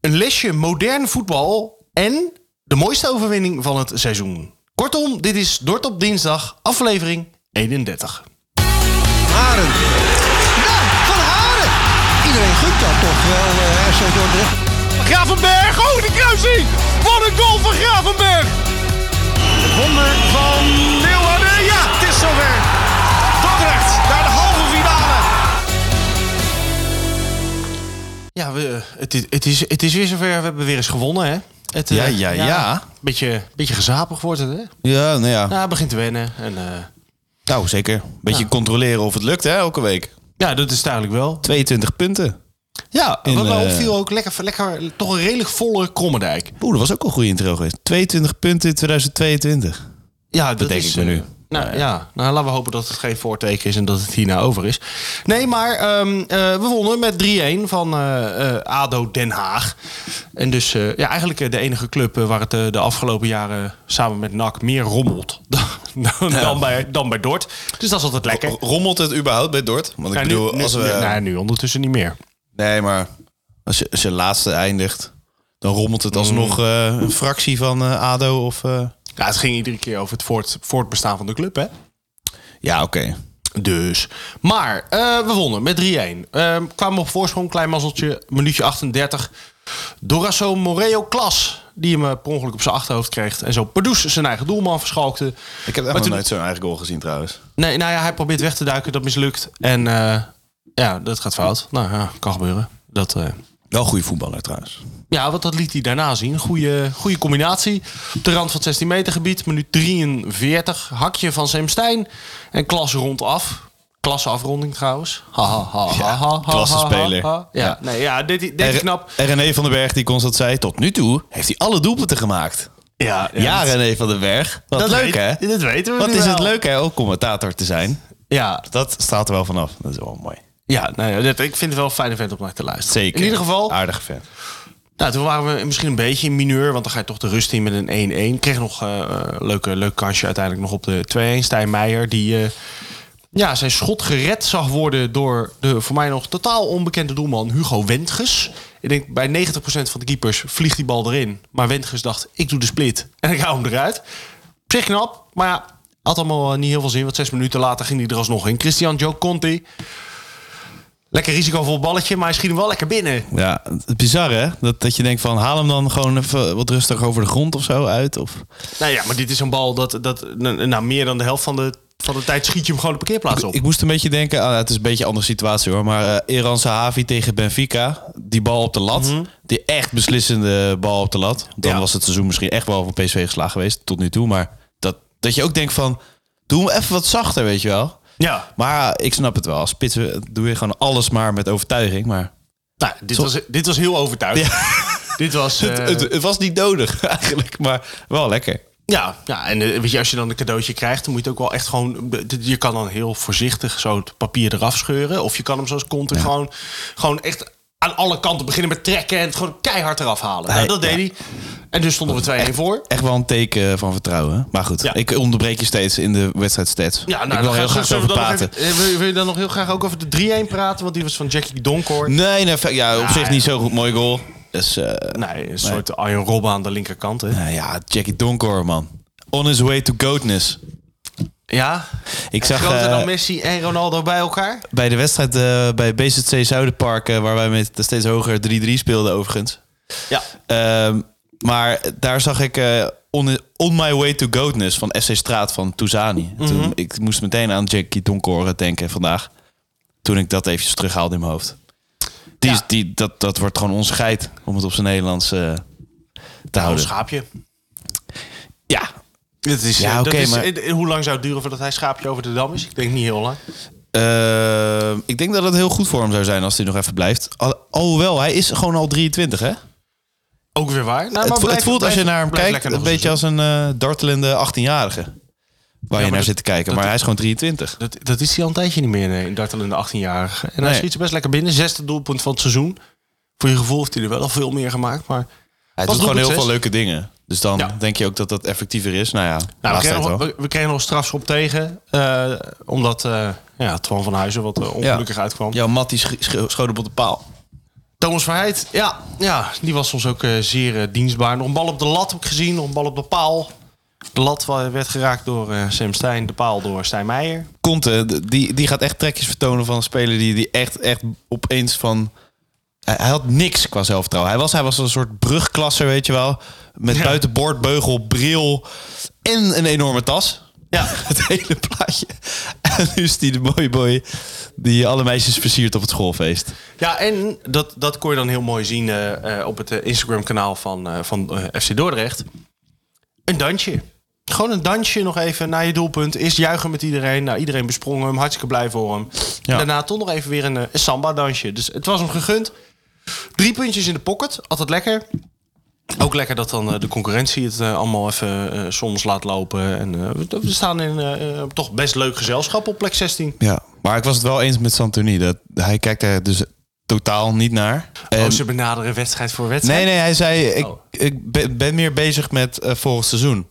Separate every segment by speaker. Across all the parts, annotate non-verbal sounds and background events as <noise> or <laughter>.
Speaker 1: een lesje modern voetbal en de mooiste overwinning van het seizoen. Kortom, dit is Dort op dinsdag, aflevering 31.
Speaker 2: Haren. Nou, van Haren. Iedereen gunt dat toch wel, eh, FC Dordrecht.
Speaker 3: Gravenberg, oh de kruising! Wat een goal van Gravenberg! Het wonder van Leeuwarden, ja het is zover! Dordrecht naar de halve finale!
Speaker 1: Ja, we, het, is, het, is, het is weer zover. We hebben weer eens gewonnen, hè? Het, eh,
Speaker 4: Ja, ja, ja.
Speaker 1: Beetje, beetje gezapig wordt het, hè?
Speaker 4: Ja, nou ja.
Speaker 1: Ja, het begint te wennen. En, eh,
Speaker 4: Nou, zeker. Beetje controleren of het lukt, hè, elke week.
Speaker 1: ja, dat is het eigenlijk wel.
Speaker 4: 22 punten.
Speaker 1: Ja,
Speaker 4: In,
Speaker 1: wat mij
Speaker 4: eh,
Speaker 1: opviel ook lekker, lekker, toch een redelijk volle Krommendijk.
Speaker 4: Oeh, dat was ook al een goede intro geweest. 22 punten in 2022.
Speaker 1: Ja, dat,
Speaker 4: denk
Speaker 1: is,
Speaker 4: ik me nu.
Speaker 1: eh, Nou ja, nou, laten we hopen dat het geen voorteken is en dat het hierna over is. Nee, maar ehm, eh, we wonnen met 3-1 van eh, eh, ADO Den Haag. En dus eh, ja, eigenlijk eh, de enige club eh, waar het eh, de afgelopen jaren samen met NAC meer rommelt <laughs> dan, dan, dan bij, dan bij Dort. Dus dat is altijd lekker.
Speaker 4: R- Rommelt het überhaupt bij Dort? Want ik
Speaker 1: Ja, nu-
Speaker 4: bedoel,
Speaker 1: nu-
Speaker 4: als we...
Speaker 1: nu- nee, nu ondertussen niet meer.
Speaker 4: Nee, maar als je, als je laatste eindigt, dan rommelt het alsnog
Speaker 1: Mm.
Speaker 4: eh, een fractie van eh, ADO of... eh,
Speaker 1: Ja, het ging iedere keer over het voort, voortbestaan van de club, hè?
Speaker 4: Ja, oké.
Speaker 1: Dus. Maar eh, we wonnen met 3-1. Eh, kwamen op voorsprong, klein mazzeltje, minuutje 38. Dorasso Moreo Klas, die hem eh, per ongeluk op zijn achterhoofd kreeg. En zo Pardoes zijn eigen doelman verschalkte.
Speaker 4: Ik heb echt
Speaker 1: Maar
Speaker 4: nog
Speaker 1: toen-
Speaker 4: nooit zo'n eigen goal gezien trouwens.
Speaker 1: Nee, nou ja, hij probeert weg te duiken, dat mislukt. En eh, ja, dat gaat fout. Nou ja, kan gebeuren. Dat, eh,
Speaker 4: Wel een goede voetballer trouwens.
Speaker 1: ja, want dat liet hij daarna zien. Goede, goede combinatie. Op de rand van het 16 meter gebied, minuut 43. Hakje van Semstein. En klas rondaf. Klasseafronding trouwens. Ha, ha, ha, ha, ha, ha,
Speaker 4: klassenspeler.
Speaker 1: ha, ha. Ja,
Speaker 4: Ja.
Speaker 1: Nee, ja dit, dit
Speaker 4: En
Speaker 1: knap.
Speaker 4: en René E van den Berg die constant zei, tot nu toe heeft hij alle doelpunten gemaakt.
Speaker 1: Ja,
Speaker 4: Ja, René van den Berg. Wat leuk hè?
Speaker 1: Dat weten we
Speaker 4: Wat
Speaker 1: nu
Speaker 4: is het
Speaker 1: wel.
Speaker 4: leuk hè, om commentator te zijn.
Speaker 1: Ja,
Speaker 4: Dat staat er wel vanaf. Dat is wel mooi.
Speaker 1: ja, nou ja dit, ik vind het wel een fijne vent om naar te luisteren.
Speaker 4: Zeker.
Speaker 1: In ieder geval,
Speaker 4: Aardige fan.
Speaker 1: Nou, toen waren we misschien een beetje in mineur, want dan ga je toch de rust in met een 1-1. Kreeg nog eh, een leuke, leuk kansje uiteindelijk nog op de 2-1. Stijn Meijer, die eh, ja, zijn schot gered zag worden door de voor mij nog totaal onbekende doelman Hugo Wentges. Ik denk bij 90% van de keepers vliegt die bal erin. Maar Wentges dacht, ik doe de split en ik hou hem eruit. Op zich knap, maar ja, had allemaal eh, niet heel veel zin, want zes minuten later ging hij er alsnog in. Christian Joe Conti. Lekker risicovol balletje, maar hij schiet hem wel lekker binnen.
Speaker 4: Ja, het is bizar hè? Dat, dat je denkt van haal hem dan gewoon even wat rustig over de grond of zo uit. Of...
Speaker 1: Nou ja, maar dit is een bal dat, dat nou, meer dan de helft van de, van de tijd schiet je hem gewoon de parkeerplaats op.
Speaker 4: Ik moest een beetje denken, ah, het is een beetje een andere situatie hoor. Maar eh Eran Sahavi tegen Benfica, die bal op de lat. Die echt beslissende bal op de lat. Dan
Speaker 1: Mhm. Ja.
Speaker 4: was het seizoen misschien echt wel van PSV geslagen geweest tot nu toe. Maar dat, dat je ook denkt van doe hem even wat zachter, weet je wel.
Speaker 1: ja,
Speaker 4: Maar ik snap het wel. Als spits eh, doe je gewoon alles maar met overtuiging. Maar
Speaker 1: nou, dit, was, dit was heel overtuigend. <laughs> dit was... eh,
Speaker 4: het, het was niet nodig <laughs> eigenlijk, maar wel lekker.
Speaker 1: ja, ja, en eh, weet je, als je dan een cadeautje krijgt, dan moet je het ook wel echt gewoon... Je kan dan heel voorzichtig zo het papier eraf scheuren. Of je kan hem zoals Conte gewoon, gewoon echt aan alle kanten beginnen met trekken... en het gewoon keihard eraf halen. Nou,
Speaker 4: Hij-
Speaker 1: dat deed hij. En dus stonden we 2-1 voor.
Speaker 4: Echt wel een teken van vertrouwen. hè? Maar goed,
Speaker 1: Ja.
Speaker 4: ik onderbreek je steeds in de wedstrijdstats.
Speaker 1: Ja, nou,
Speaker 4: ik wil
Speaker 1: dan
Speaker 4: heel
Speaker 1: gaan-
Speaker 4: graag
Speaker 1: zullen
Speaker 4: over
Speaker 1: we dan nog
Speaker 4: praten.
Speaker 1: even- eh, wil, wil je dan nog heel graag ook over de 3-1 praten? Want die was van Jackie Donkor.
Speaker 4: Nee, nee, fe- ja, op zich niet zo goed. Mooi goal. Dus, eh,
Speaker 1: Nee, een soort Arjen Robben aan de linkerkant. Hè?
Speaker 4: nou ja, Jackie Donkor, man. On his way to goatness.
Speaker 1: Ja,
Speaker 4: Ik zag
Speaker 1: groter
Speaker 4: eh,
Speaker 1: dan Messi en Ronaldo bij elkaar.
Speaker 4: bij de wedstrijd eh, bij BZC Zuiderpark, eh, waar wij met steeds hoger 3-3 speelden overigens.
Speaker 1: Ja.
Speaker 4: Ehm, maar daar zag ik eh, on, on My Way to Goatness van FC Straat van Touzani.
Speaker 1: Mhm.
Speaker 4: Toen, ik moest meteen aan Jackie Donkor denken vandaag. Toen ik dat eventjes terughaalde in mijn hoofd. Die is,
Speaker 1: Ja.
Speaker 4: die, dat, dat wordt gewoon ons geit om het op zijn Nederlands eh, te
Speaker 1: Een
Speaker 4: houden.
Speaker 1: schaapje.
Speaker 4: Ja,
Speaker 1: Dat is,
Speaker 4: Ja,
Speaker 1: eh, dat
Speaker 4: oké,
Speaker 1: is,
Speaker 4: maar-
Speaker 1: eh, Hoe lang zou het duren voordat hij schaapje over de dam is? Ik denk niet heel lang.
Speaker 4: Ehm, ik denk dat het heel goed voor hem zou zijn als hij nog even blijft. Al, alhoewel, hij is gewoon al 23 hè?
Speaker 1: Ook weer waar. Nou, maar
Speaker 4: het, vo-
Speaker 1: blijf-
Speaker 4: het voelt als
Speaker 1: blijf-
Speaker 4: je naar hem
Speaker 1: blijf
Speaker 4: kijkt
Speaker 1: lekker
Speaker 4: een
Speaker 1: nog eens
Speaker 4: beetje als een eh, dartelende 18-jarige. Waar je
Speaker 1: maar
Speaker 4: naar
Speaker 1: dat-
Speaker 4: zit te kijken.
Speaker 1: dat-
Speaker 4: Maar hij is gewoon 23.
Speaker 1: Dat, dat is hij al een tijdje niet meer, nee, een dartelende 18-jarige. En hij
Speaker 4: Nee.
Speaker 1: schiet ze best lekker binnen. Zesde doelpunt van het seizoen. Voor je gevoel heeft hij er wel al veel meer gemaakt. Maar
Speaker 4: Hij
Speaker 1: Was
Speaker 4: doet gewoon
Speaker 1: doelpunt
Speaker 4: heel
Speaker 1: zes?
Speaker 4: veel leuke dingen. Dus dan
Speaker 1: Ja.
Speaker 4: denk je ook dat dat effectiever is. Nou ja,
Speaker 1: Nou, we,
Speaker 4: laatst
Speaker 1: kregen
Speaker 4: tijd
Speaker 1: nog,
Speaker 4: wel.
Speaker 1: we, we kregen nog een strafschop tegen. eh, omdat eh ja, Twan van Huizen wat eh, ongelukkig uitkwam.
Speaker 4: Jouw Mattie sch- sch- schoot op de paal.
Speaker 1: Thomas Verheid, ja, ja, die was soms ook eh, zeer eh, dienstbaar. Nog een bal op de lat heb ik gezien, nog een bal op de paal. De lat wa- werd geraakt door eh, Sam Stijn, de paal door Stijn Meijer.
Speaker 4: Conte, d- die, die gaat echt trekjes vertonen van een speler die, die echt, echt opeens van... Hij, hij had niks qua zelfvertrouwen. Hij was, hij was een soort brugklasser, weet je wel. Met buitenboord, beugel, bril en een enorme tas. Ja, <laughs> het hele plaatje. En nu is die de mooie boy die alle meisjes versiert op het schoolfeest.
Speaker 1: Ja, en dat, dat kon je dan heel mooi zien eh, eh, op het eh, Instagram-kanaal van, eh, van eh, FC Dordrecht. Een dansje. Gewoon een dansje nog even naar je doelpunt. Eerst juichen met iedereen. Nou, iedereen besprong hem. Hartstikke blij voor hem. En Daarna toch nog even weer een, eh, een samba-dansje. Dus het was hem gegund. Drie puntjes in de pocket. Altijd lekker. Ook lekker dat dan eh, de concurrentie het eh, allemaal even eh, soms laat lopen. En eh, we- we staan in eh, eh, toch best leuk gezelschap op plek 16.
Speaker 4: Ja, maar ik was het wel eens met Santoni. Dat, hij kijkt er dus totaal niet naar.
Speaker 1: Oh,
Speaker 4: En-
Speaker 1: ze benaderen wedstrijd voor wedstrijd.
Speaker 4: Nee, nee, hij zei: Ik,
Speaker 1: Oh.
Speaker 4: ik ben, ben meer bezig met eh volgend seizoen.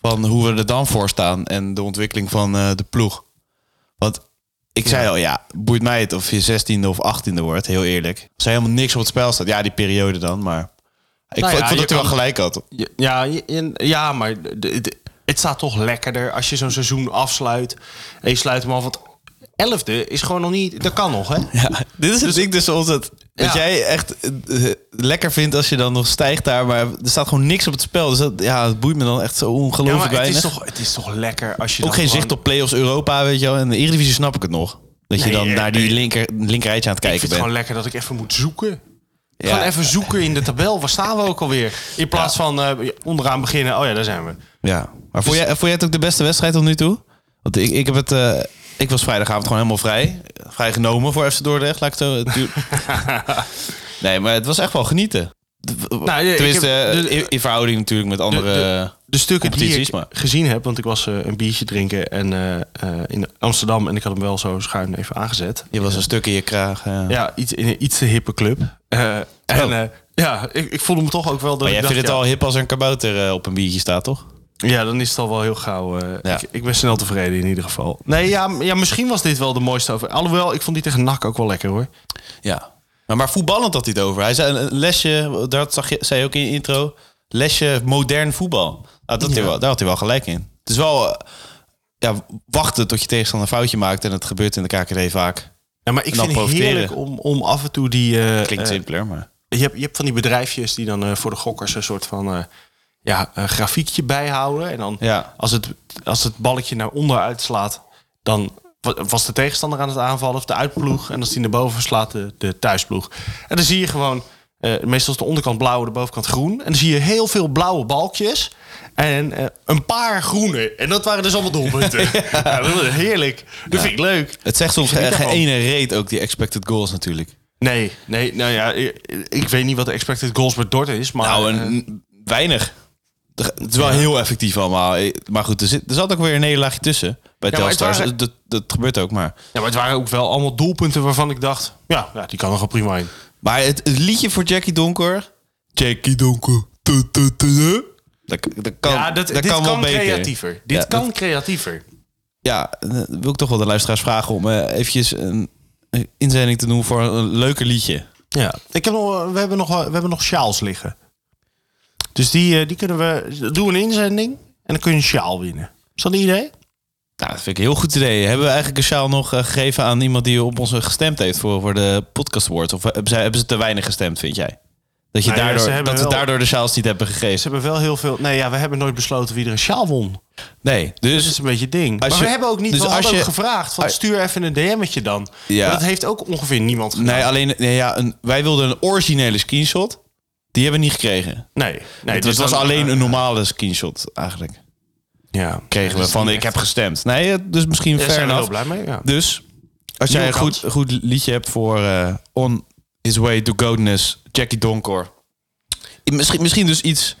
Speaker 4: Van hoe we er dan voor staan en de ontwikkeling van eh, de ploeg. Want ik zei al, ja, boeit mij het of je 16e of 18e wordt, heel eerlijk. Als er helemaal niks op het spel staat, ja, die periode dan, maar. Ik,
Speaker 1: Nou
Speaker 4: vond,
Speaker 1: ja,
Speaker 4: ik vond
Speaker 1: je
Speaker 4: dat hij wel
Speaker 1: kan-
Speaker 4: gelijk had.
Speaker 1: Ja, Ja, je- ja maar de- de- het staat toch lekkerder als je zo'n seizoen afsluit. En je sluit hem af, want elfde is gewoon nog niet... Dat kan nog, hè?
Speaker 4: Ja, <laughs> dit is het ding tussen ons. Dat, dat
Speaker 1: Dus- Ja.
Speaker 4: jij echt eh, eh, lekker vindt als je dan nog stijgt daar, maar er staat gewoon niks op het spel. Dus dat, ja, het boeit me dan echt zo
Speaker 1: Ja,
Speaker 4: ongelooflijk
Speaker 1: maar het is,
Speaker 4: weinig.
Speaker 1: toch, het is toch lekker als je
Speaker 4: Ook
Speaker 1: dan
Speaker 4: geen
Speaker 1: gewoon-
Speaker 4: zicht op play-offs Europa, weet je wel. In de Eredivisie snap ik het nog. Dat je
Speaker 1: Nee,
Speaker 4: dan
Speaker 1: eh,
Speaker 4: naar die
Speaker 1: nee.
Speaker 4: linker, linkerrijtje aan het
Speaker 1: Ik
Speaker 4: kijken
Speaker 1: vind het
Speaker 4: bent.
Speaker 1: gewoon lekker dat ik even moet zoeken.
Speaker 4: Ja.
Speaker 1: Gewoon even zoeken in de tabel. Waar staan we ook alweer? In plaats van eh, onderaan beginnen. Oh ja, daar zijn we.
Speaker 4: Ja. Maar
Speaker 1: Dus-
Speaker 4: vond jij, vond jij het ook de beste wedstrijd tot nu toe? Want ik, ik, heb het, eh, ik was vrijdagavond gewoon helemaal vrij. Vrij genomen voor FC Dordrecht, laat ik het zo... het
Speaker 1: <laughs>
Speaker 4: duur- nee, maar het was echt wel genieten.
Speaker 1: Nou, ik
Speaker 4: Tenminste,
Speaker 1: heb-
Speaker 4: eh,
Speaker 1: de-
Speaker 4: in, in verhouding natuurlijk met andere...
Speaker 1: De stukken die
Speaker 4: Competities,
Speaker 1: ik
Speaker 4: maar-
Speaker 1: gezien heb, want ik was eh, een biertje drinken en, eh, eh, in Amsterdam en ik had hem wel zo schuin even aangezet.
Speaker 4: je was een stuk in je kraag. ja.
Speaker 1: Ja, iets in een iets te hippe club. Eh, en
Speaker 4: Oh.
Speaker 1: eh, ja, ik, ik voelde me toch ook wel... dat
Speaker 4: Maar jij
Speaker 1: ik dacht,
Speaker 4: vindt het
Speaker 1: ja,
Speaker 4: al hip als er een kabouter eh, op een biertje staat, toch?
Speaker 1: Ja, dan is het al wel heel gauw. eh,
Speaker 4: Ja.
Speaker 1: ik, ik ben snel tevreden in ieder geval. Nee, ja, m- ja, misschien was dit wel de mooiste over. Alhoewel, ik vond die tegen NAC ook wel lekker hoor.
Speaker 4: Ja. Maar, maar voetballend had hij het over. Hij zei een een lesje, dat zag je, zei je ook in je intro. Lesje modern voetbal. Nou, dat had hij wel, daar had hij wel gelijk in. Het is wel eh, ja, wachten tot je tegenstander een foutje maakt. En dat gebeurt in de KKD vaak.
Speaker 1: Ja, maar ik
Speaker 4: En dan
Speaker 1: vind het
Speaker 4: profiteren.
Speaker 1: heerlijk om, om af en toe die... eh,
Speaker 4: Klinkt
Speaker 1: eh,
Speaker 4: simpeler, maar...
Speaker 1: je, hebt, je hebt van die bedrijfjes die dan eh, voor de gokkers een soort van... eh, ja, een grafiekje bijhouden. En dan
Speaker 4: Ja.
Speaker 1: als, het, als het balletje naar onder uitslaat... dan wa- was de tegenstander aan het aanvallen of de uitploeg. En als die naar boven slaat, de, de thuisploeg. En dan zie je gewoon... eh, meestal is de onderkant blauw, de bovenkant groen. En dan zie je heel veel blauwe balkjes. En eh, een paar groene. En dat waren dus allemaal doelpunten. <laughs> ja, dat was heerlijk. Dat vind ik leuk.
Speaker 4: Het zegt soms
Speaker 1: Ik geniet
Speaker 4: geen geen
Speaker 1: daarvan.
Speaker 4: ene reet ook, die expected goals natuurlijk.
Speaker 1: Nee, nee, nou ja, ik, ik weet niet wat de expected goals bij Dort is, maar...
Speaker 4: Nou,
Speaker 1: eh,
Speaker 4: een, weinig. Het is wel heel effectief allemaal. Maar goed, er, zit, er zat ook weer een nederlaagje tussen. Bij
Speaker 1: maar het
Speaker 4: Telstar.
Speaker 1: waren-
Speaker 4: Dat, dat gebeurt ook, maar...
Speaker 1: Ja, maar het waren ook wel allemaal doelpunten waarvan ik dacht... Ja, ja die kan er wel prima in.
Speaker 4: Maar het, het liedje voor Jackie Donker. Jackie Donker. Tu, tu, tu, tu. Dat, dat kan,
Speaker 1: ja, Oh, dat,
Speaker 4: dat
Speaker 1: dit
Speaker 4: kan
Speaker 1: kan,
Speaker 4: wel beter.
Speaker 1: creatiever. Dit
Speaker 4: Ja,
Speaker 1: kan
Speaker 4: dat-
Speaker 1: creatiever.
Speaker 4: ja, dan wil ik toch wel de luisteraars vragen om eh, eventjes een, een inzending te doen voor een leuker liedje.
Speaker 1: Ja. Ik heb nog, eh, we, hebben nog, we hebben nog sjaals liggen. Dus die, eh, die kunnen we... Doe een inzending en dan kun je een sjaal winnen. Is dat een idee?
Speaker 4: Nou, dat vind ik een heel goed idee. Hebben we eigenlijk een sjaal nog eh, gegeven aan iemand die op ons gestemd heeft voor, voor de podcast awards? Of hebben ze, hebben ze te weinig gestemd, vind jij? Dat, je
Speaker 1: Nou ja, ze
Speaker 4: daardoor,
Speaker 1: hebben
Speaker 4: dat we
Speaker 1: wel-
Speaker 4: daardoor de sjaals niet hebben
Speaker 1: Ze
Speaker 4: gegeven.
Speaker 1: hebben wel heel veel... Nee, ja, we hebben nooit besloten wie er een sjaal won.
Speaker 4: Nee, dus...
Speaker 1: Dat is een beetje het ding.
Speaker 4: Als
Speaker 1: maar
Speaker 4: je-
Speaker 1: we hebben ook niet...
Speaker 4: dus
Speaker 1: we hadden
Speaker 4: als je-
Speaker 1: ook gevraagd van
Speaker 4: als-
Speaker 1: stuur even een DM'tje dan.
Speaker 4: Ja.
Speaker 1: Maar dat heeft ook ongeveer niemand gedaan.
Speaker 4: Nee, alleen nee, ja, een, wij wilden een originele screenshot. Die hebben we niet gekregen.
Speaker 1: Nee, nee,
Speaker 4: het
Speaker 1: dus
Speaker 4: was
Speaker 1: dan-
Speaker 4: alleen een normale screenshot eigenlijk.
Speaker 1: Ja, dus
Speaker 4: Kregen we van ik heb gestemd. Nee, eh, dus misschien
Speaker 1: Daar
Speaker 4: fair
Speaker 1: zijn we heel
Speaker 4: enough.
Speaker 1: blij mee. Ja.
Speaker 4: Dus als jij een
Speaker 1: Nieuwe
Speaker 4: goed, goed liedje hebt voor eh, On His Way to Goodness, Jackie Donkor. I- Misschien, misschien dus iets.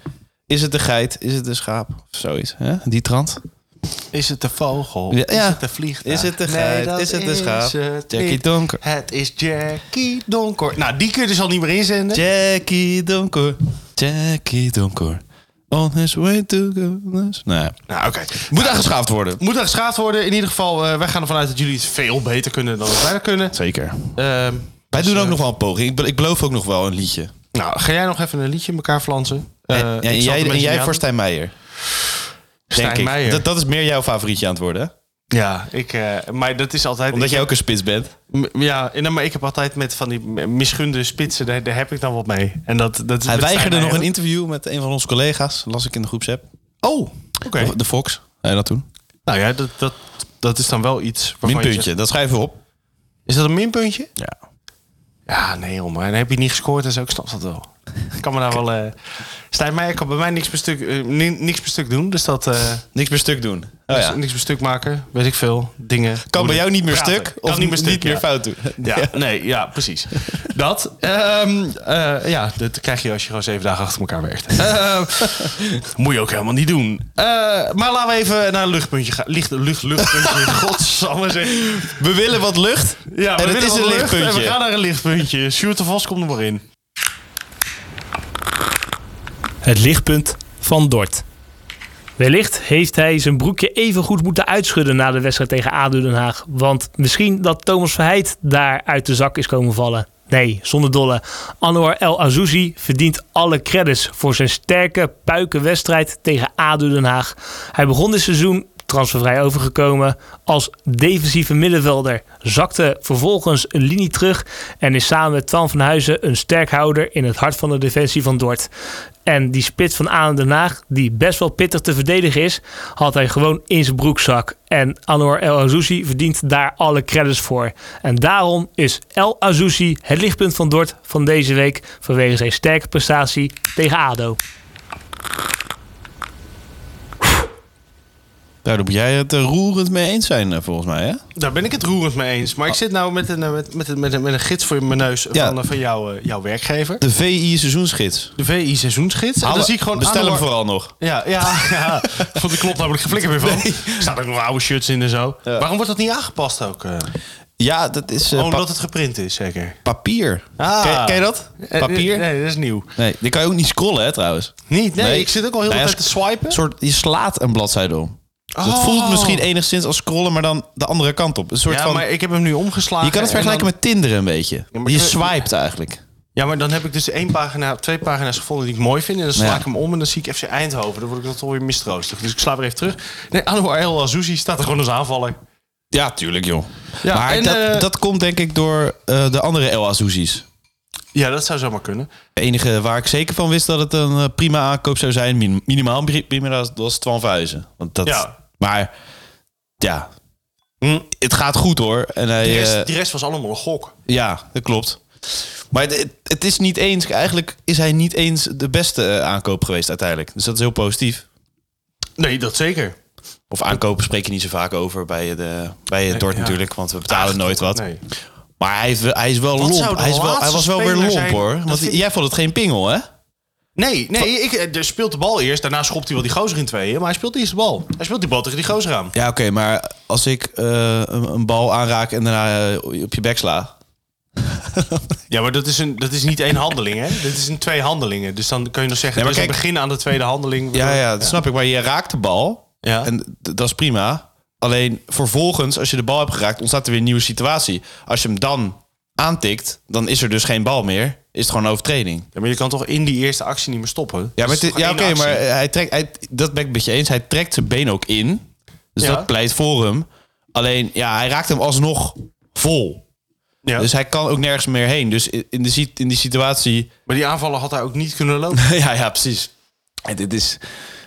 Speaker 4: Is het een geit? Is het een schaap? Of zoiets. Hè? Die trant.
Speaker 1: Is het de vogel?
Speaker 4: Ja.
Speaker 1: Is het de vliegtuig?
Speaker 4: Is het de geit?
Speaker 1: dat
Speaker 4: Is het de schaap? Jackie
Speaker 1: niet.
Speaker 4: Donker.
Speaker 1: Het is Jackie Donker. Nou, die kun je dus al niet meer inzenden.
Speaker 4: Jackie Donkor. Jackie Donkor. On his way to goodness. Nee.
Speaker 1: nou, oké.
Speaker 4: Moet aangeschaafd worden.
Speaker 1: Moet er geschaafd worden. In ieder geval, eh, wij gaan ervan uit dat jullie het veel beter kunnen dan dat wij dat kunnen.
Speaker 4: Zeker.
Speaker 1: Ehm,
Speaker 4: Wij
Speaker 1: Dus,
Speaker 4: doen ook
Speaker 1: eh,
Speaker 4: nog wel een poging. Ik, be- ik beloof ook nog wel een liedje.
Speaker 1: Nou, ga jij nog even een liedje in elkaar flansen? Eh,
Speaker 4: En- en,
Speaker 1: ik zal het een
Speaker 4: jij, en
Speaker 1: beetje
Speaker 4: jij
Speaker 1: aan-
Speaker 4: voor Stijn Meijer.
Speaker 1: Stijn
Speaker 4: denk ik.
Speaker 1: Meijer.
Speaker 4: Dat, dat is meer jouw favorietje aan het worden. hè?
Speaker 1: Ja, ik, eh, maar dat is altijd...
Speaker 4: Omdat
Speaker 1: ik-
Speaker 4: jij ook een spits bent.
Speaker 1: M- Ja, en dan- maar ik heb altijd met van die m- misgunde spitsen, daar, daar heb ik dan wat mee. En dat, dat is
Speaker 4: Hij
Speaker 1: met
Speaker 4: weigerde
Speaker 1: Stijn
Speaker 4: nog een
Speaker 1: Meijer.
Speaker 4: interview met een van onze collega's. Las ik in de groepsapp.
Speaker 1: Oh, oké.
Speaker 4: De- De Fox. Hij dat toen.
Speaker 1: Nou ja, dat, dat, dat is dan wel iets waarvan je
Speaker 4: Minpuntje.
Speaker 1: zegt-
Speaker 4: Dat schrijven we op.
Speaker 1: Is dat een minpuntje?
Speaker 4: Ja.
Speaker 1: Ja, nee joh, maar dan heb je niet gescoord en zo, ik snap dat wel. Ik kan me
Speaker 4: <laughs>
Speaker 1: nou wel... eh Stijn Meijer kan bij mij niks per stuk, eh, ni- niks per stuk doen, dus dat... eh,
Speaker 4: Niks meer stuk doen. Oh,
Speaker 1: niks,
Speaker 4: ja.
Speaker 1: niks per stuk maken, weet ik veel, dingen.
Speaker 4: Kan bij jou niet meer
Speaker 1: Praten.
Speaker 4: stuk
Speaker 1: Kan
Speaker 4: of niet meer, niet meer
Speaker 1: ja.
Speaker 4: fout doen.
Speaker 1: Ja, nee, ja,
Speaker 4: <laughs>
Speaker 1: precies. Dat. ehm, eh, ja, dat krijg je als je gewoon zeven dagen achter elkaar werkt.
Speaker 4: <laughs>
Speaker 1: Eh, moet je ook helemaal niet doen. Eh, maar laten we even naar een luchtpuntje gaan. Licht, lucht, luchtpuntje.
Speaker 4: <laughs>
Speaker 1: Godsamme zeg.
Speaker 4: We willen wat lucht.
Speaker 1: Ja, we
Speaker 4: en het
Speaker 1: willen
Speaker 4: is
Speaker 1: wel
Speaker 4: een
Speaker 1: lucht en
Speaker 4: lichtpuntje.
Speaker 1: we gaan naar een lichtpuntje. Sjoerd de Vos komt er maar in.
Speaker 5: Het lichtpunt van Dort. Wellicht heeft hij zijn broekje even goed moeten uitschudden na de wedstrijd tegen ADO Den Haag. Want misschien dat Thomas Verheid daar uit de zak is komen vallen. Nee, zonder dolle. Anwar El Azouzi verdient alle credits voor zijn sterke puikenwedstrijd tegen ADO Den Haag. Hij begon dit seizoen transfervrij overgekomen als defensieve middenvelder. Zakte vervolgens een linie terug en is samen met Twan van Huizen een sterkhouder in het hart van de defensie van Dort. En die spits van Aan Den Haag, die best wel pittig te verdedigen is, had hij gewoon in zijn broekzak. En Anwar El Azouzi verdient daar alle credits voor. En daarom is El Azouzi het lichtpunt van Dort van deze week vanwege zijn sterke prestatie tegen ADO.
Speaker 4: Nou, daar moet jij het eh, roerend mee eens zijn, eh, volgens mij. Hè?
Speaker 1: Daar ben ik het roerend mee eens. Maar ik zit nou met een, eh, met, met, een- met, een, met een gids voor mijn neus
Speaker 4: Ah. Ja.
Speaker 1: van, eh, van jouw, eh, jouw werkgever.
Speaker 4: De VI seizoensgids.
Speaker 1: De VI seizoensgids. En dan
Speaker 4: Alle-
Speaker 1: zie ik gewoon
Speaker 4: Bestel hem
Speaker 1: Anouar-
Speaker 4: vooral nog.
Speaker 1: Ja,
Speaker 4: <laughs>
Speaker 1: ja, ja. Vond ik klopt namelijk geflikker weer van. Er staan ook nog oude shirts in en zo. Waarom wordt dat niet aangepast ook? eh?
Speaker 4: Ja, dat is
Speaker 1: Oh,
Speaker 4: eh, pa-
Speaker 1: omdat het geprint is, zeker.
Speaker 4: papier.
Speaker 1: Ah.
Speaker 4: Ken, ken je dat?
Speaker 1: Eh,
Speaker 4: Papier?
Speaker 1: Nee, dat is nieuw.
Speaker 4: Nee, die kan je ook niet scrollen, hè, trouwens.
Speaker 1: Niet? Nee,
Speaker 4: Nee.
Speaker 1: ik zit ook al heel de
Speaker 4: Nou ja,
Speaker 1: tijd te swipen.
Speaker 4: Een soort, je slaat een bladzijde om. Dus
Speaker 1: Oh.
Speaker 4: Het voelt misschien enigszins als scrollen, maar dan de andere kant op. Een soort
Speaker 1: Ja,
Speaker 4: van,
Speaker 1: maar ik heb hem nu omgeslagen.
Speaker 4: je kan het
Speaker 1: en
Speaker 4: vergelijken
Speaker 1: dan-
Speaker 4: met Tinder een beetje.
Speaker 1: maar
Speaker 4: je
Speaker 1: ik-
Speaker 4: swipet eigenlijk.
Speaker 1: Ja, maar dan heb ik dus één pagina, twee pagina's gevonden die ik mooi vind. En dan sla
Speaker 4: Ja.
Speaker 1: ik hem om en dan zie ik FC Eindhoven. Dan word ik dan toch weer mistroostig. Dus ik sla weer even terug. Nee, Anouar El Azouzi staat er gewoon als aanvaller.
Speaker 4: Ja, tuurlijk joh.
Speaker 1: Ja,
Speaker 4: maar
Speaker 1: en,
Speaker 4: dat,
Speaker 1: eh,
Speaker 4: dat komt denk ik door eh, de andere El Azouzis.
Speaker 1: Ja, dat zou zomaar kunnen.
Speaker 4: De enige waar ik zeker van wist dat het een eh, prima aankoop zou zijn, min- minimaal pri- prima, dat was Twan Vuizen. Want dat,
Speaker 1: Ja.
Speaker 4: Maar ja,
Speaker 1: Hm.
Speaker 4: het gaat goed hoor. En hij,
Speaker 1: De rest,
Speaker 4: eh,
Speaker 1: die rest was allemaal een gok.
Speaker 4: ja, dat klopt. Maar het, het- het is niet eens, eigenlijk is hij niet eens de beste eh, aankoop geweest uiteindelijk. Dus dat is heel positief.
Speaker 1: Nee, dat zeker.
Speaker 4: Of aankopen spreek je niet zo vaak over bij, eh, de, bij het Dort
Speaker 1: ja.
Speaker 4: natuurlijk, want we betalen nooit wat.
Speaker 1: Nee.
Speaker 4: Maar hij, heeft wel- hij is wel
Speaker 1: zou
Speaker 4: lomp.
Speaker 1: de
Speaker 4: Hij, is wel, hij
Speaker 1: laatste
Speaker 4: was wel weer
Speaker 1: speler
Speaker 4: lomp
Speaker 1: zijn?
Speaker 4: hoor.
Speaker 1: Dat
Speaker 4: Want
Speaker 1: vind-
Speaker 4: jij vond het geen pingel hè?
Speaker 1: Nee, nee ik, eh, er speelt de bal eerst. Daarna schopt hij wel die gozer in tweeën. Maar hij speelt eerst de bal. Hij speelt die bal tegen die gozer aan.
Speaker 4: Ja, oké, maar als ik eh, een, een bal aanraak en daarna eh, op je bek sla.
Speaker 1: Ja, maar dat is, een, dat is niet één handeling, hè? Dit is een twee handelingen. Dus dan kun je nog zeggen,
Speaker 4: Ja,
Speaker 1: ja,
Speaker 4: maar
Speaker 1: is een
Speaker 4: kijk-
Speaker 1: begin aan de tweede handeling.
Speaker 4: Ja, ja, dat snap ik. Maar je raakt de bal
Speaker 1: Ja.
Speaker 4: en d- dat is prima. Alleen vervolgens, als je de bal hebt geraakt, ontstaat er weer een nieuwe situatie. Als je hem dan aantikt, dan is er dus geen bal meer. Is het gewoon een overtreding.
Speaker 1: Ja, maar je kan toch in die eerste actie niet meer stoppen?
Speaker 4: Ja, maar
Speaker 1: Dat is
Speaker 4: het is-
Speaker 1: toch
Speaker 4: ja
Speaker 1: één
Speaker 4: oké,
Speaker 1: actie?
Speaker 4: maar eh, hij trekt, hij, dat ben ik met je eens. Hij trekt zijn been ook in. Dus
Speaker 1: Ja.
Speaker 4: dat pleit voor hem. Alleen, ja, hij raakt hem alsnog vol.
Speaker 1: Ja.
Speaker 4: Dus hij kan ook nergens meer heen. Dus in, in, de, sit- in die situatie...
Speaker 1: Maar die aanvallen had hij ook niet kunnen lopen.
Speaker 4: <laughs> ja, ja, precies. En dit is...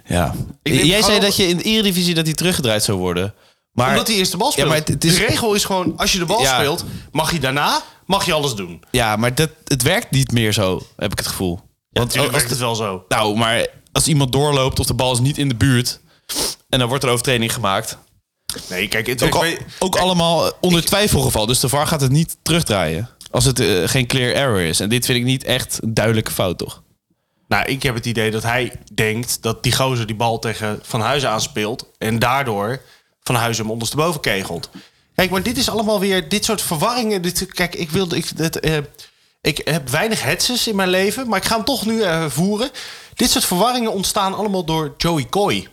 Speaker 4: Ja.
Speaker 1: Ik denk
Speaker 4: Jij zei
Speaker 1: gewoon-
Speaker 4: dat je in de Eredivisie dat hij teruggedraaid zou worden. Maar,
Speaker 1: Omdat hij eerst de bal speelt.
Speaker 4: Ja, maar het, het is,
Speaker 1: De regel is gewoon, als je de bal
Speaker 4: Ja.
Speaker 1: speelt, mag je daarna mag je alles doen.
Speaker 4: ja, maar dat, het werkt niet meer zo, heb ik het gevoel. Want
Speaker 1: Natuurlijk
Speaker 4: als,
Speaker 1: werkt Oh, het wel zo.
Speaker 4: nou, maar als iemand doorloopt of de bal is niet in de buurt... en dan wordt er overtreding gemaakt...
Speaker 1: Nee, kijk, het
Speaker 4: Ook, al-
Speaker 1: werkt bij-
Speaker 4: ook allemaal onder twijfelgeval. Dus de VAR gaat het niet terugdraaien. Als het eh, geen clear error is. En dit vind ik niet echt een duidelijke fout, toch?
Speaker 1: Nou, ik heb het idee dat hij denkt dat die gozer die bal tegen Van Huizen aanspeelt. En daardoor Van Huizen hem ondersteboven kegelt. Kijk, maar dit is allemaal weer dit soort verwarringen. Dit, kijk, ik wilde. Ik, dit, eh, ik heb weinig hetzes in mijn leven, maar ik ga hem toch nu eh, voeren. Dit soort verwarringen ontstaan allemaal door Joey Coy.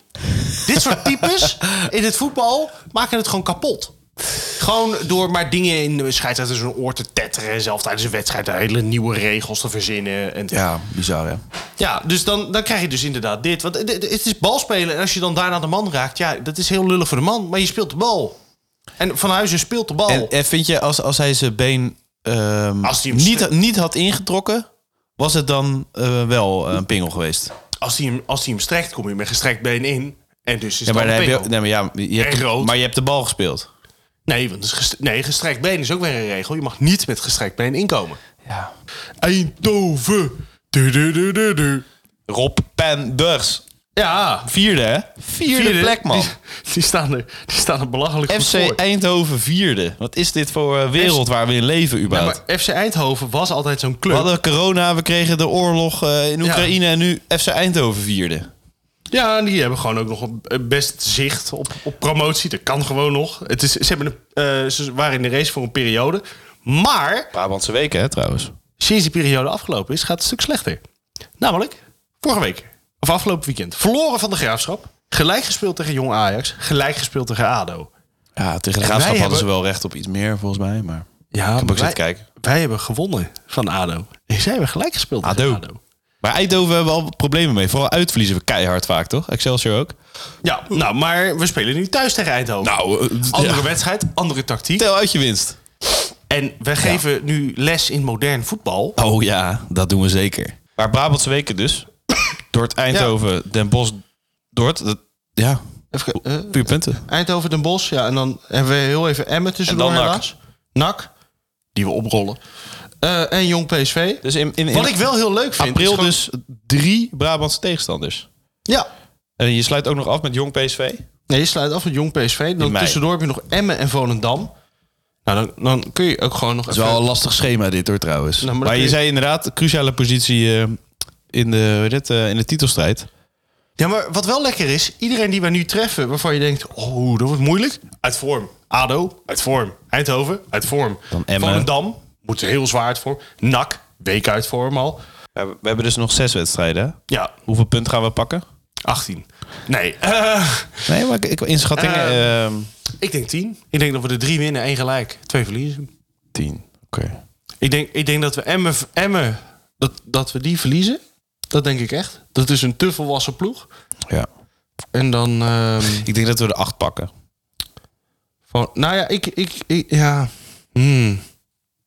Speaker 1: dit soort types in het voetbal maken het gewoon kapot. Gewoon door maar dingen in de scheidsrechter zijn oor te tetteren. En zelf tijdens een wedstrijd hele nieuwe regels te verzinnen. En
Speaker 4: Ja, bizar hè.
Speaker 1: ja, dus dan, dan krijg je dus inderdaad dit. Want het, het- het is balspelen. En als je dan daarna de man raakt, ja, dat is heel lullig voor de man. Maar je speelt de bal. En Van Huizen speelt de bal.
Speaker 4: En, en vind je, als, als hij zijn been ehm,
Speaker 1: Als hij hem
Speaker 4: niet,
Speaker 1: stuk-
Speaker 4: niet had ingetrokken, was het dan eh, wel een pingel geweest?
Speaker 1: als, hij hem, als hij hem strekt, kom je met gestrekt been in. En dus is
Speaker 4: Ja, maar,
Speaker 1: dan
Speaker 4: dan
Speaker 1: een
Speaker 4: heb je,
Speaker 1: penalty.
Speaker 4: nee, maar, ja, je hebt,
Speaker 1: En rood.
Speaker 4: maar je hebt de bal gespeeld.
Speaker 1: Nee, want het is gest- nee, gestrekt been is ook weer een regel. Je mag niet met gestrekt been inkomen.
Speaker 4: Ja.
Speaker 1: Eindhoven. Du, du, du, du, du.
Speaker 4: Rob Penders.
Speaker 1: Ja,
Speaker 4: Vierde, hè? Vierde, plek, man.
Speaker 1: Die, die staan er, die staan er belachelijk goed
Speaker 4: FC
Speaker 1: voor.
Speaker 4: Eindhoven vierde. Wat is dit voor eh, wereld waar we in leven,
Speaker 1: Ja,
Speaker 4: überhaupt?
Speaker 1: maar FC Eindhoven was altijd zo'n
Speaker 4: we
Speaker 1: club.
Speaker 4: hadden corona, we kregen de oorlog eh, in Oekraïne en nu FC Eindhoven vierde.
Speaker 1: Ja, en die hebben gewoon ook nog een best zicht op, op promotie. Dat kan gewoon nog. Het is, ze, hebben een, eh, ze waren in de race voor een periode. Maar
Speaker 4: Brabantse weken, hè, trouwens.
Speaker 1: sinds die periode afgelopen is, gaat het een stuk slechter. Namelijk, vorige week, of afgelopen weekend, verloren van de Graafschap. Gelijk gespeeld tegen Jong Ajax. Gelijk gespeeld tegen ADO.
Speaker 4: Ja, tegen de
Speaker 1: En
Speaker 4: graafschap
Speaker 1: wij
Speaker 4: hadden ze
Speaker 1: hebben-
Speaker 4: wel recht op iets meer, volgens mij. Maar
Speaker 1: Ja,
Speaker 4: ik heb ook
Speaker 1: wij,
Speaker 4: zitten kijken.
Speaker 1: wij hebben gewonnen van ADO. En zij hebben gelijk gespeeld tegen
Speaker 4: ADO.
Speaker 1: ADO.
Speaker 4: Maar Eindhoven hebben we al problemen mee. Vooral uitverliezen we keihard vaak, toch? Excelsior ook.
Speaker 1: Ja, nou, maar we spelen nu thuis tegen Eindhoven.
Speaker 4: Nou,
Speaker 1: andere wedstrijd, andere tactiek.
Speaker 4: tel uit je winst.
Speaker 1: En we geven nu les in modern voetbal.
Speaker 4: Oh ja, dat doen we zeker. Maar Brabantse weken dus. <coughs> Dordt, Eindhoven, Den Bosch, Dordt. dat- ja,
Speaker 1: Even, eh,
Speaker 4: vier punten.
Speaker 1: Eindhoven, Den Bosch. Ja, en dan hebben we heel even Emmen tussendoor
Speaker 4: En dan NAC.
Speaker 1: helaas. NAC, die we oprollen. Eh, en Jong PSV.
Speaker 4: Dus in, in, in
Speaker 1: Wat ik wel heel leuk vind.
Speaker 4: april
Speaker 1: is gewoon-
Speaker 4: dus drie Brabantse tegenstanders.
Speaker 1: Ja.
Speaker 4: En je sluit ook nog af met Jong PSV.
Speaker 1: Nee, je sluit af met Jong PSV. Dan
Speaker 4: In mei.
Speaker 1: tussendoor heb je nog Emmen en Volendam. Nou, dan, dan kun je ook gewoon nog
Speaker 4: Dat is wel een lastig schema dit hoor trouwens.
Speaker 1: Nou, maar
Speaker 4: maar
Speaker 1: dan kun
Speaker 4: je
Speaker 1: je-
Speaker 4: zei inderdaad, cruciale positie eh, in, de, hoe heet het, eh, in de titelstrijd.
Speaker 1: Ja, maar wat wel lekker is. Iedereen die wij nu treffen, waarvan je denkt... Oh, dat wordt moeilijk. Uit vorm. ADO, uit vorm. Eindhoven, uit vorm.
Speaker 4: Dan Emmen.
Speaker 1: Volendam, moet heel zwaar uit vorm. NAC, week uit vorm al.
Speaker 4: Ja, we we hebben dus nog zes wedstrijden. hè?
Speaker 1: Ja,
Speaker 4: Hoeveel punten gaan we pakken?
Speaker 1: 18. Nee,
Speaker 4: Nee, maar ik, ik inschatting
Speaker 1: Eh,
Speaker 4: ehm,
Speaker 1: Ik denk 10. Ik denk dat we er drie winnen, één gelijk, twee verliezen.
Speaker 4: tien. Oké.
Speaker 1: Ik denk, ik denk dat we Emmen, Emmen dat, dat we die verliezen. Dat denk ik echt. Dat is een te volwassen ploeg.
Speaker 4: Ja.
Speaker 1: En dan. <laughs> ehm,
Speaker 4: Ik denk dat we de acht pakken.
Speaker 1: van, nou ja, ik. ik, ik- ja. Hmm.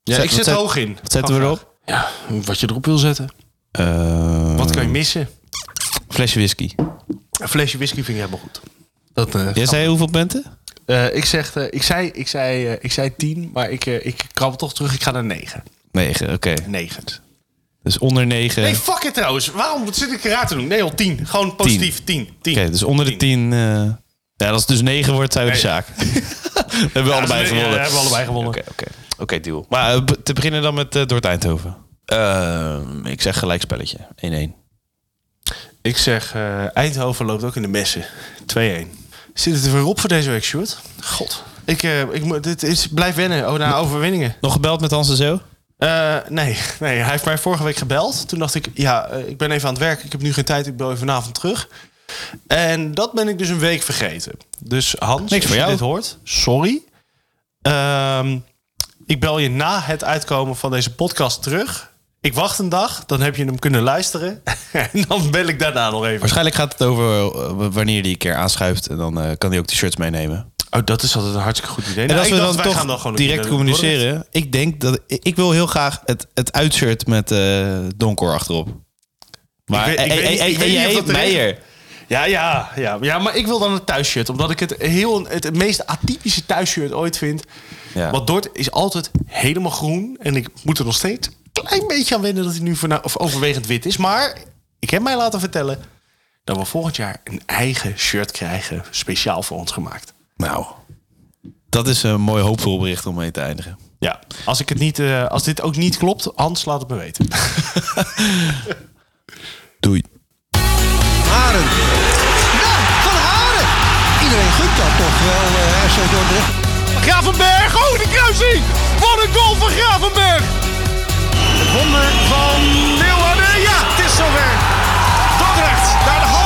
Speaker 1: ja
Speaker 4: Zet-
Speaker 1: ik
Speaker 4: wat
Speaker 1: zet
Speaker 4: zet-
Speaker 1: hoog in.
Speaker 4: Wat zetten we erop?
Speaker 1: Ja, wat je erop wil zetten. Hmm.
Speaker 4: Eh,
Speaker 1: Wat kan je missen?
Speaker 4: Flesje whisky.
Speaker 1: Een flesje whisky vind ik helemaal goed. Dat, eh,
Speaker 4: Jij zei hoeveel punten?
Speaker 1: eh, ik, zeg, eh, ik, zei, ik, zei, eh, ik zei 10, maar ik, eh, ik krabbel toch terug. Ik ga naar 9.
Speaker 4: Negen, oké.
Speaker 1: 9.
Speaker 4: Dus onder negen.
Speaker 1: Nee, fuck it trouwens. Waarom zit ik raar te doen? Nee, al 10. Gewoon positief. 10. 10.
Speaker 4: Oké, dus onder de tien. eh, ja, als het dus negen wordt, zijn we de
Speaker 1: Nee.
Speaker 4: <laughs> zaak. hebben dus we allebei
Speaker 1: ja,
Speaker 4: gewonnen.
Speaker 1: ja, hebben we allebei gewonnen.
Speaker 4: Oké, oké. Oké, deal. Maar eh, be- te beginnen dan met eh Dordt Eindhoven. Ehm, ik zeg gelijkspelletje. 1-1.
Speaker 1: Ik zeg, eh, Eindhoven loopt ook in de messen. 2-1. Zit het er weer op voor deze week, Sjoerd? God. Ik, eh, ik, moet- dit is, blijf wennen oh, naar overwinningen.
Speaker 4: Nog gebeld met Hans de Zeeuw?
Speaker 1: Eh, nee, nee, hij heeft mij vorige week gebeld. Toen dacht ik, ja, eh, ik ben even aan het werk. Ik heb nu geen tijd. Ik bel je vanavond terug. En dat ben ik dus een week vergeten. Dus Hans,
Speaker 4: Niks
Speaker 1: als
Speaker 4: voor
Speaker 1: je
Speaker 4: jou.
Speaker 1: dit hoort, sorry. Ehm, ik bel je na het uitkomen van deze podcast terug. Ik wacht een dag, dan heb je hem kunnen luisteren. <laughs> en dan bel ik daarna nog even.
Speaker 4: Waarschijnlijk gaat het over eh, w- wanneer die een keer aanschuift. En dan eh, kan hij ook die shirts meenemen.
Speaker 1: Oh, dat is altijd een hartstikke goed idee.
Speaker 4: En
Speaker 1: Nou,
Speaker 4: als
Speaker 1: ik
Speaker 4: we
Speaker 1: dacht,
Speaker 4: dan
Speaker 1: wij gaan
Speaker 4: toch
Speaker 1: gewoon een
Speaker 4: direct
Speaker 1: keer eh, doen.
Speaker 4: communiceren. Ik denk dat ik, ik wil heel graag het, het uitshirt met eh Donkor achterop. Maar eh,
Speaker 1: Ik weet- ik
Speaker 4: hey,
Speaker 1: weet niet-
Speaker 4: hey, hey,
Speaker 1: ik weet niet
Speaker 4: hey,
Speaker 1: of
Speaker 4: hey,
Speaker 1: dat er is.
Speaker 4: Meijer.
Speaker 1: Ja, ja, ja. Ja, maar ik wil dan een thuisshirt. Omdat ik het, heel, het meest atypische thuisshirt ooit vind.
Speaker 4: Ja.
Speaker 1: Want Dort is altijd helemaal groen. En ik moet er nog steeds een klein beetje aan wennen dat hij nu voorna- of overwegend wit is. Maar ik heb mij laten vertellen dat we volgend jaar een eigen shirt krijgen. Speciaal voor ons gemaakt.
Speaker 4: Nou, dat is een mooi hoopvol bericht om mee te eindigen.
Speaker 1: Ja, als, ik het niet, eh, als dit ook niet klopt, Hans laat het me weten.
Speaker 4: Doei.
Speaker 2: Haren. Nou, van Haren. Iedereen gunt dat toch wel, eh SC Dordrecht.
Speaker 3: Gravenberg, oh de kruising! Wat een goal van Gravenberg! Het wonder van Leeuwarden, ja, het is zover. Dordrecht naar de halve.